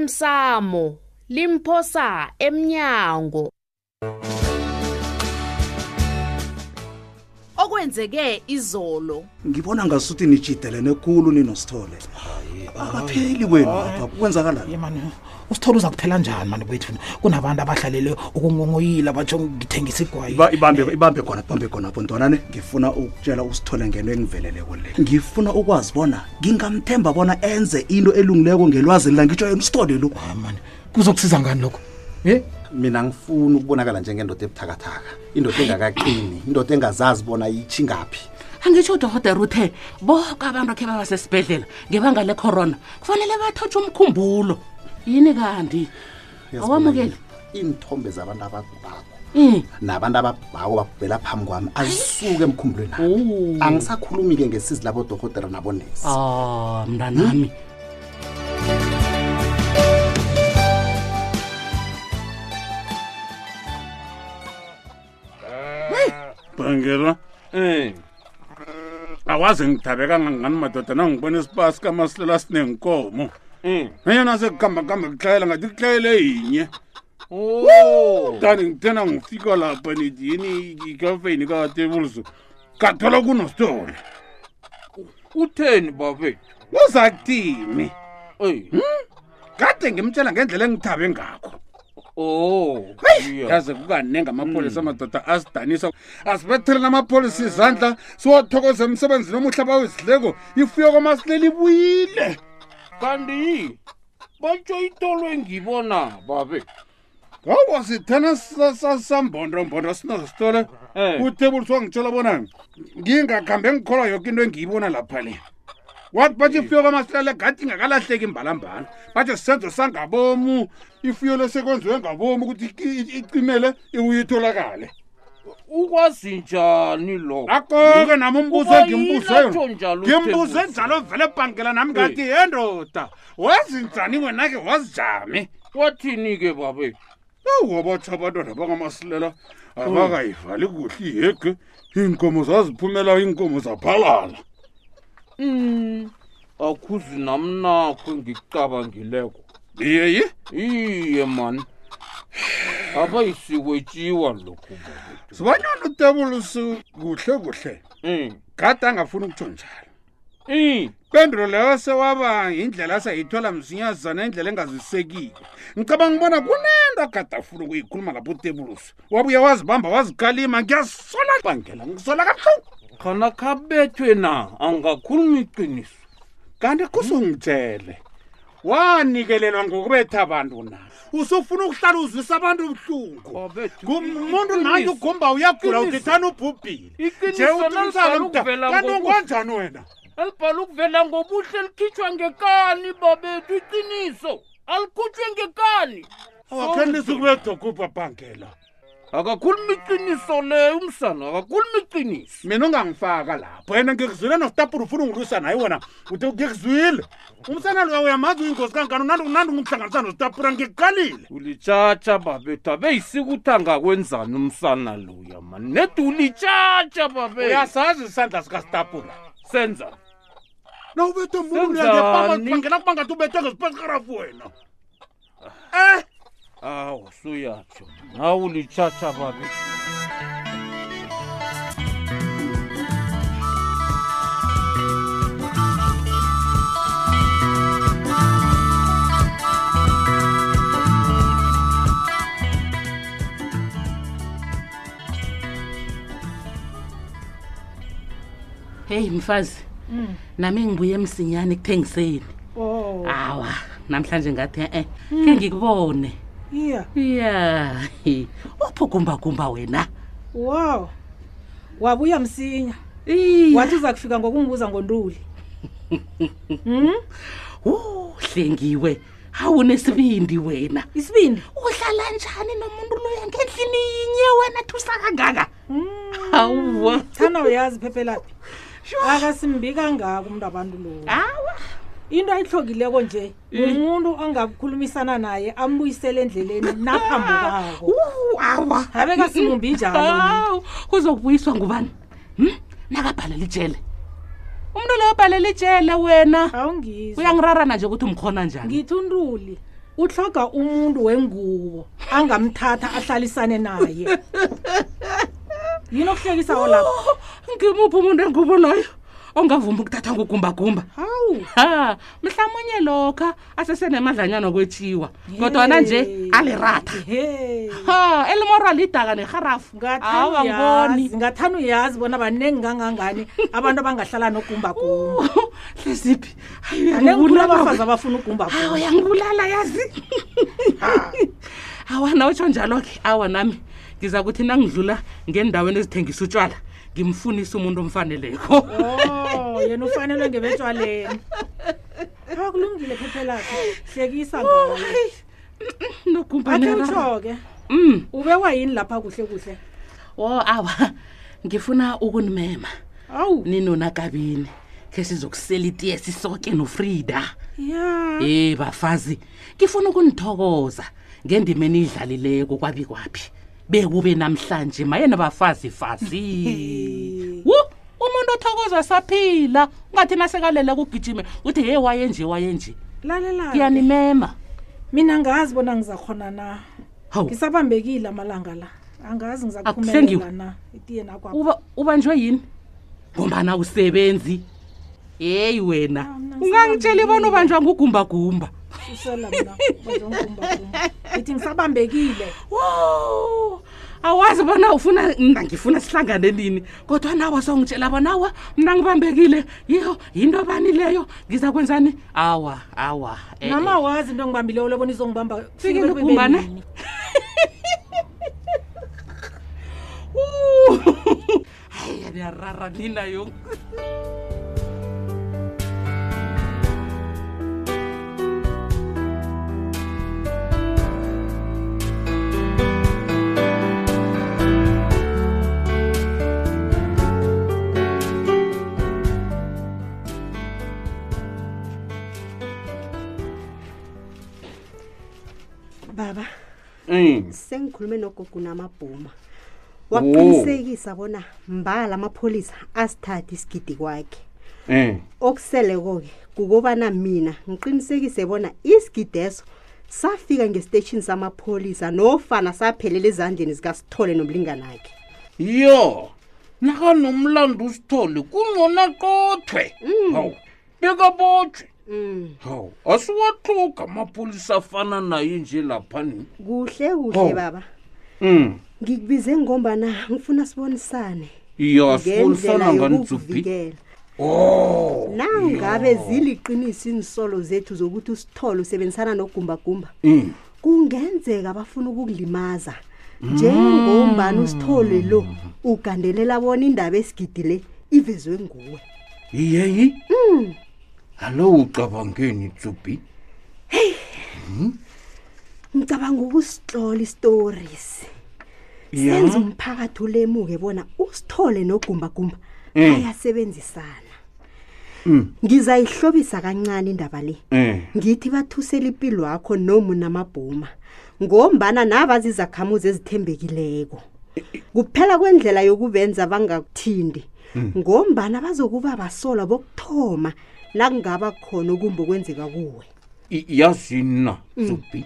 osemsamo limphosa emnyango okwenzeke izolo ngibona ngasuthi nijidelene khulu ninosithole akapheli kwenu apha kwenzakalani ye mani usithole uza kuphela njani mani kwethu kunabantu abahlalele ukungongoyila batsho ngithengisa igwayi Iba- ibambe ibambe khona ibambe khonapho ntwanane ngifuna ukutshela usithole ngento engiveleleko le ngifuna ukwazi bona ngingamthemba bona enze into elungileko ngelwazini la ngitsho yena usithole lo Ah, mani kuzokusiza ngani lokho ye mina ngifuni ukubonakala njengendoda ebuthakathaka indoda engakaqini indoda engazazi bona yitshingaphi angitsho udorhotere uthe boke abantu akhe babasesibhedlela ngebanga lecorona kufanele bathotshe umkhumbulo yini kanti awamukeli iinthombe zabantu abagubako um nabantu ababhako babhela phambi kwami azisuke emkhumbulweni ami. angisakhulumi-ke ngesizi labodorhotera nabonesi a mntanami bhangela um awazi ngithabeka ngangani madoda nangibona isipasi kamasilela sinenkomo nanyana sekugambagamba kuhlayela ngathi kuhlayele yinye kanti ngithena ngifika lapha nithi yini ikafeni katebulso kathola kunositole utheni babethu uzakuthini eyi kade ngimtshela ngendlela engithabe ngakho o yaze kukanenge amapholisa amadoda asidanisa asibetheleni amapholisa izandla siwathokoze emsebenzini omuhle bawezidleko ifuyo kwamasilela ibuyile kanti batsho itolwe ngibona babethu ngoba sithena sambhondombhondo sinositole Eh. uthebulisi wangitshela bona ngingakhambe ngikholwa yoke into engiyibona lapha le wathi batsho ifuyo kwamasilela gathi ingakalahleki imbalambala batsho sisenzo sangabomu ifuyo lesekwenziwe ngabomu ukuthi i- i- icimele uyitholakale ukwazi njani lokho akho-ke nami umbuzo Uba engimbuzayo yilatsho njalo ngimbuze uThembusi. njalo vele bhangela nami ngathi yendoda wazi njani wena-ke wazijami wathini-ke babethu awabatsha abantwana bangamasilela abakayivali kuhle ihege iinkomo zaziphumela iinkomo zaphalala um akhuzi namnakho engikucabangileko iyeyi iye mani Ah, abayisikwetsiwa lokho babethu sibanyana utebulusi kuhle kuhle um gade angafuni ukutsho njalo um pendulo leyo sewaba yindlela asayithola msinyazana indlela engazisekile ngicabanga ubona kunento agade afuna ukuyikhuluma lapho utebulusi wabuye wazibamba wazikalima ngiyasola bangela ngisola kabuhlungu khona kabethwe na angakhuluma iqiniso kanti kusungitshele wanikelelwa ngokubetha abantu na usufuna ukuhlala uzwisa abantu ubuhlungu Babethu, ngumuntu iqiniso. naye ugomba uyagula Iqiniso. uthithana ubhubhile Iqiniso nje uthi nalizala umsalo ukuvela kanti ngoku- ungonjani wena alibhala ukuvela ngobuhle likhitshwa ngekani babethu iqiniso alikhutshwe ngekani awakhenisa ukubedokubha bhangela akakhuluma iqiniso leyo umsana akakhuluma iqiniso mina ungangifaka lapho yena ngikuzwile nostapula ufuna ungilwisa naye wona uthi ngikuzwile umsana loya uyamazi uyingozi kangani unandi ungihlanganisa nostapula ngikukalile ulitshatsha babethu abeyisika uthi angakwenzani umsana loya mani nede ulitshatsha babethu uyasazi isandla sikastapula senza nawubethwe mbulu Senzani? uyangepamabangela kubangathi ubethwe ngesiphesirharafu wena eh awu suyatsho nawe ulitshatsha babethu heyi mfazi nami ngibuye msinyane ekuthengiseni Oh. awa namhlanje ngathi e-e ke ngikubone iya iya uphugumbagumba wena wow wabuya msinya Iya. wathi uza kufika ngokungibuza ngontuli uhlengiwe awunesibindi wena isibindi uhlala njani nomuntu loya ngendlini yinye wena thusa kangaka awuwa thana uyazi phephelaphi akasimbi kangako umntu abantu lowo awa into ayihlogileko nje umuntu ongakhulumisana naye ambuyisele endleleni naphambukako Wu, awa Abe Ah. kasimumbi njalo umuntu. Awu, uzokubuyiswa ngubani Hmm? nakabhalela itshele umuntu loyo obhalela itshele wena awungizwa uyangirarana nje ukuthi umkhona njani ngithi untuli utlhoga umuntu wengubo angamthatha ahlalisane naye yini okuhlekisawo lapho Oh, ngimuphi umuntu engubo loyo ongavumi ukuthathwa ngugumbagumba hawu ha mhlawumunye lokha asesenemadlanyana kwetshiwa kodwana nje aliratha Hey. ha elimorwa lidaka neharafu awa ngiboni Ngathani ngathani uyazi bona baningi kangangani abantu abangahlala nogumbagumba hleziphi baningi abafazi abafuna ugumbagumba uyangibulala yazi awa na utsho njalo-ke awa nami ngiza kuthi nangidlula ngendaweni ezithengisa utshwala ngimfunise umuntu omfaneleko Oh, yena ufanelwe ngebetshwaleni ha kulungile phephe lakhe hlekisa ngayo akhe nogumbane utsho-ke mm ubekwa yini lapha kuhle kuhle wo awa ngifuna ukunimema awu ninona kabini khe sizokusela itiye sisoke nofrida ya Eh bafazi, ngifuna ukunithokoza ngendimeni idlalileko kwabi kwapi. Bekube namhlanje mayena bafazi fazi. Wu umuntu othokoza saphila, ungathi nasekalele kugijime uthi hey waye nje waye nje. lalelake Ngiyanimema. mina ngazi bona ngizakhona na Hawu, ngisabambekile amalanga la angazi Akuhlengiwe. ngizakuphumelela na itiye nakwapha uba ubanjwe yini? Ngombana usebenzi. Hey wena, mna ungangitsheli bona ubanjwa ngugumba gumba. usela mna bazongumbagumba ngithi ngisabambekile wo awazi bona ufuna mna ngifuna sihlangane nini kodwa nawa songitshela bona awa mna ngibambekile yiyo yinto bani leyo ngiza kwenzani awa awa eh, eh. nama wazi into engibambileyo lobona izongibamba Fikile kube ugumbane. benini. Uh, hayi aniyarara nina yo baba Mm. sengikhulume nogogo namabhuma waqinisekisa bona mbala amapholisa asithathe isigidi kwakhe Mm. okuseleko-ke kukobana mina ngiqinisekise bona isigideso safika ngesiteshini samapholisa nofana saphelela ezandleni zikasithole nomlinganakhe Yo. Nakanomlando usithole kungona qothwe. Hawu. Beka botshwe. mm. Hawu. Asiwathuka amapolisa afana naye nje lapha ni. kuhle Oh. kuhle baba Mm. ngikubize ngombana ngifuna sibonisane Iya ngendlela sifunisana ngani Dzuphi. yokuvikela oh nangabe ziliqiniso insolo zethu zokuthi usithole usebenzisana nogumbagumba Mm. kungenzeka bafuna ukukulimaza njengombani usithole lo ugandelela bona indaba esigidi le ivezwe nguwe Iyeyi? Mm. Alo ucabangeni Dzuphi? ngicabanga ukusihlola istories senza umphakathi ulemuke bona usithole nogumbagumba ayasebenzisana ngizayihlobisa kancane indaba le Eh. ngithi bathusela impilo yakho nomu namabhuma ngombana nabazi izakhamuzi ezithembekileko kuphela kwendlela yokubenza bangakuthindi ngombana bazokuba basolwa bokuthoma nakungaba khona okumbi okwenzeka kuwe I- yazi na Dzuphi.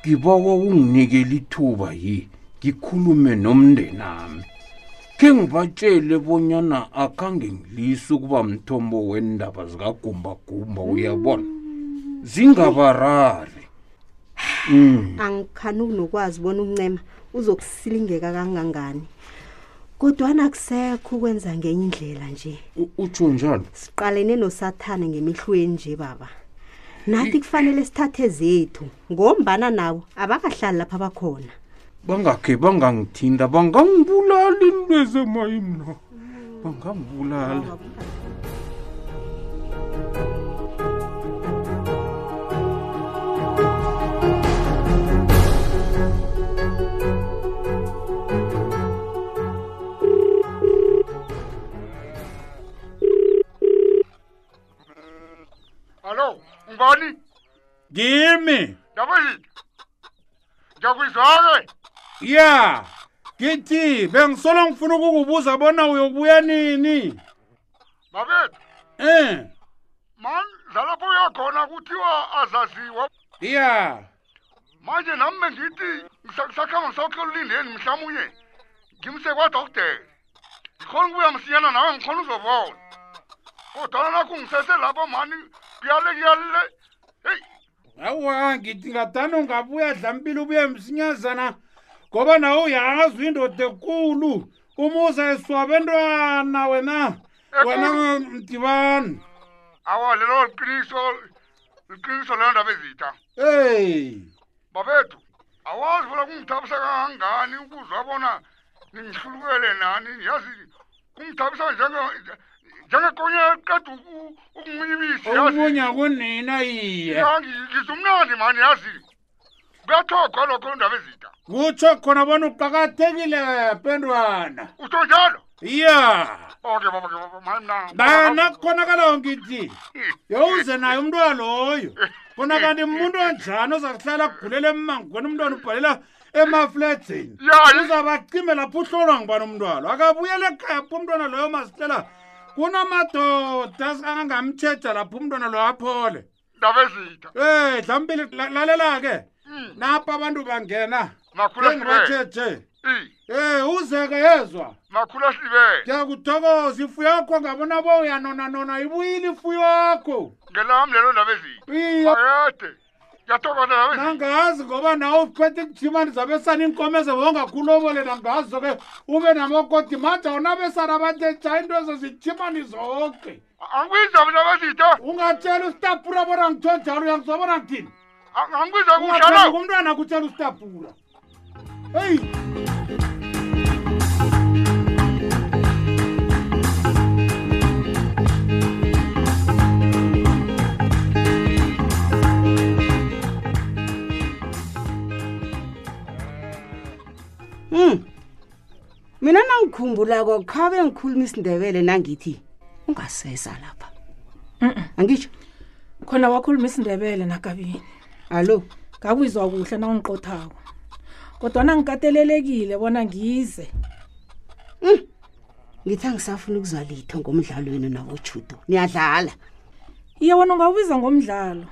Ngibawa unginikele ithuba yi. Ngikhulume nomndeni nami. Ke ngibatshele bonyana akange ngilise ukuba mthombo wendaba zikagumbagumba uyabona. Zingabarari. angikhani ukunokwazi bona uncema uzokusilingeka kangangani kodwana akusekho ukwenza ngenye indlela nje U- Utsho njani? siqalene nosathane ngemihlweni nje baba nathi kufanele sithathe zethu ngombana nabo abakahlali lapha bakhona Bangakhe bangangithinda bangangibulala into ezemayimlo. Bangangibulala. Alo, ngubani? Ngimi. Dabuyini. Ngiyakuzwa-ke. Yeah. Ngithi bengisolo ngifuna ukukubuza bona uyobuya nini? babethu um mani lalapho uyakhona kuthiwa azaziwa iya manje nami bengithi ngisakhamba ngisawukhululindeni mhlawumunye ngimse kwadokotela ngikhona ukubuya msinyana nawe ngikhona Oh, uzobona kodwana nakho ngisese lapho mani kuyale kuyalile heyi awa ngithi ngadani ungabuya dlambile ubuye msinyazana ngoba nawe uyazi indoda ekulu umuza eswa bentwana wena wena mdibani awa lelo liqiniso liqiniso leyo ndaba ezitha eyi babethu awazi bona kungithabisa kangangani ukuzwa bona ningihlulukele nani yazi Um kungithabisa njenge- njengekonya eqeda uku- ukunginyibisa yazi umunya kunina iye Ya, ngi- um ngizumnandi mani yazi kuyathogwa lokho ndaba ezitha kutsho khona bona uqakathekile bentwana utsho njalo iya Oh, okay baba ke baba mani mna- bana kukhonakalayo ngithi yowuze naye umntwana loyo funa kanti muntu onjani ozakuhlala agulela emangweni umntwana ubhalela emafledzini Ya, ye- uzabacime lapho uhlolwa ngubani umntwana akabuyela ekhaya pho umntwana loyo masihlela kunamadoda angamtsheja lapho umntwana loyo aphole ndaba ezitha ey Eh, dlambili lalela-ke napha abantu bangena makhulu ahlibele ngibatsheje i ey uzeke yezwa makhulu ahlibele ndiyakuthokoza ifuyo yakho ngabona bo uyanona nona ibuyile ifuyo yakho ngelami lelo ndaba ezitha iye ayade ngiyathokoza ndaba ezitha nangazi ngoba nawe uphethe kujimani zabesana iinkomo ezebongakhulobole nangazo ke ube namakoti mada unabesana abatsetsha into ezo zijimani zonke angibizwa mina bezitha ungatshela usitapura bona ngitsho njalo uyangizwa bona ngithini angibizwa ungaphezuka kuhlala umntwana kutshela usitapura eyi Hmm. Mina nangikhumbulako khabe ngikhuluma isindebele nangithi ungasesa lapha. Mm-mm. Angisho. khona wakhuluma isindebele nakabini Allo. ngakuyizwa kuhle nawungiqothako kodwana ngikatelelekile bona ngize Ngithi angisafuna ukuzwa litho ngomdlalo wenu nawo Judo. Niyadlala. iye wona ungawubiza ngomdlalo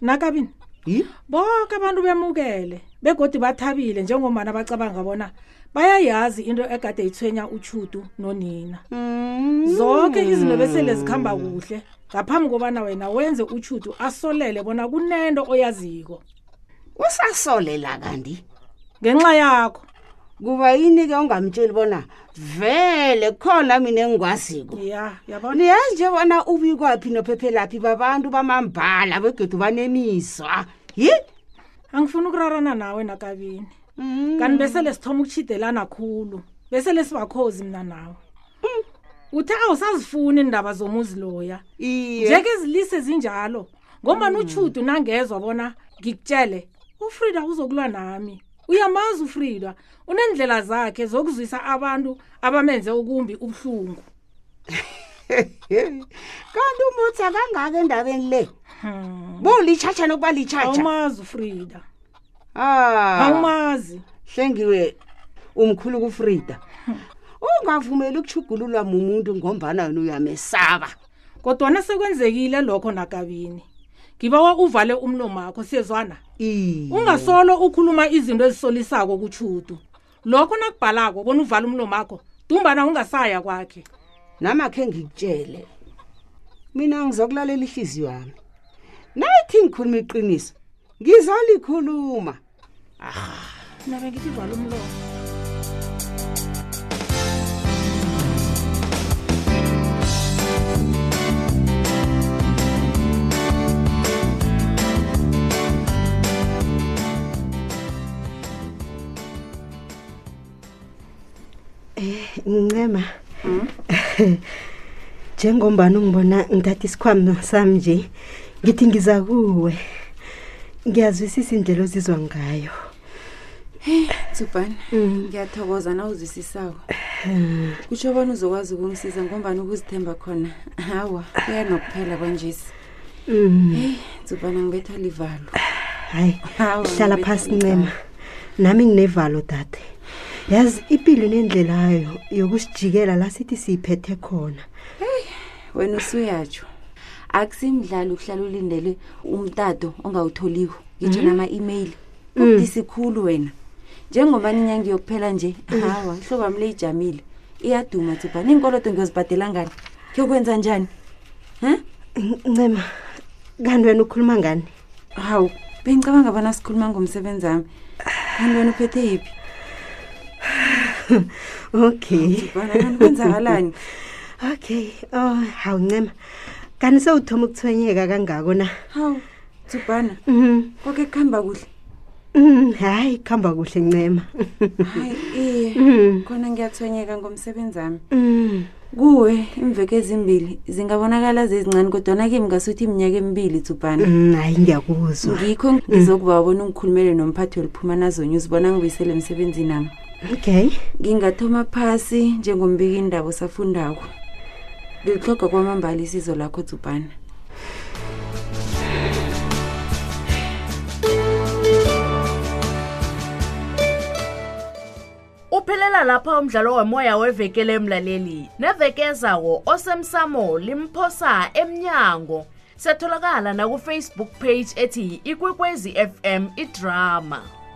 nakabini Yi? bonke abantu bemukele begodi bathabile njengomana bacabanga bona bayayazi into egade ithwenya utshutu nonina zonke izinto besele zikhamba kuhle ngaphambi kobana wena wenze utshutu asolele bona kunento oyaziko Usasolela kanti. ngenxa yakho Kuba yini ke ungamtsheli bona vele khona mina engwaziko. ya yabona Niyazi nje bona ubikwaphi nophephelaphi babantu bamambala begedu banemizwa. Yi? angifuni ukurarana nawe nakabini kanti besele sithoma ukutshidelana khulu besele sibakhozi mina nawe uthe awusazifuni iindaba zomuzi loya Iye. njeke zilise zinjalo ngombani utshudu nangezwa bona ngikutshele ufrida uzokulwa nami uyamazi ufrida uneendlela zakhe zokuzwisa abantu abamenze ukumbi ubuhlungu Kanti umutsa kangaka endabeni le. Hmm. Bulitshatsha nokuba litshatsha. awumazi ufrida Ah. awumazi Hlengiwe umkhulu kuFrida. Hmm. Ungavumeli ukuchugululwa umuntu ngombana yena uyamesaba. kodwana sekwenzekile lokho nakabini ngibawa uvale umlomo wakho siyezwana I. ungasolo ukhuluma izinto ezisolisako kutshudu lokho nakubhalako bona uvale umlomo wakho dumbana ungasaya kwakhe Namakhe ngikutshele. Mina ngizokulalela ihliziyo yami. Nayithi ngikhuluma iqiniso. Ngizalikhuluma. mina bengithi vala umlomo Ncema. Njengombani ungibona ngithatha isikhwama sami nje ngithi ngiza kuwe. Ngiyazwisisa indlela ozizwa ngayo. Mm. zubhani ngiyathokoza na uzwisisako Eh. kutsho bona uzokwazi ukungisiza ngombani ukuzithemba khona hawa kuya nokuphela kwanjesi heyi zubhana ngibethwa livalo Mm. Hayi, Hawa, hlala ngibethwa phasi livalo. ncema. Nami nginevalo dade. Yazi impilo inendlela yayo yokusijikela la sithi siyiphethe khona. wena usuyatsho akusimdlalo ukuhlala ulindele umtato ongawutholiko ngitsho Mhm. nama-imeyili Mm. ubudisi khulu wena njengoba ninyanga yokuphela nje hawa ihlobo wami leyijamile iyaduma tsubha niinkoloto ngiyozibhadela ngani kuyokwenza njani ncema kanti wena ukhuluma ngani hawu bengicabanga bona sikhuluma ngomsebenzi wami kanti wena uphethe yiphi okay Bana, kanti kwenzakalani? okay oh hawu ncema kanti sewuthoma ukuthwenyeka kangako na Mhm. hawu tsubhana koke kuhamba kuhle Mm, hayi kuhamba kuhle ncema hayi iye khona ngiyathonyeka ngomsebenzi wami Mm. kuwe imveke ezimbili zingabonakala zezincane kodwana kimi ngasuthi iminyaka emibili tsubhana Mm, hayi ngiyakuzwa ngikho ngizokuba wabona ungikhulumele nomphathi weliphuma nazonye uzibona ngibuyisele emsebenzini ami okay ngingathoma phasi njengombiki indaba osafundako ngilihloga kwamambala isizo lakho tsubhana Uphelela lapha umdlalo womoya wevekele emlaleli. Nevekezawo osemsamo limphosa emnyango. Setholakala na ku Facebook page ethi Ikwekwezi FM iDrama.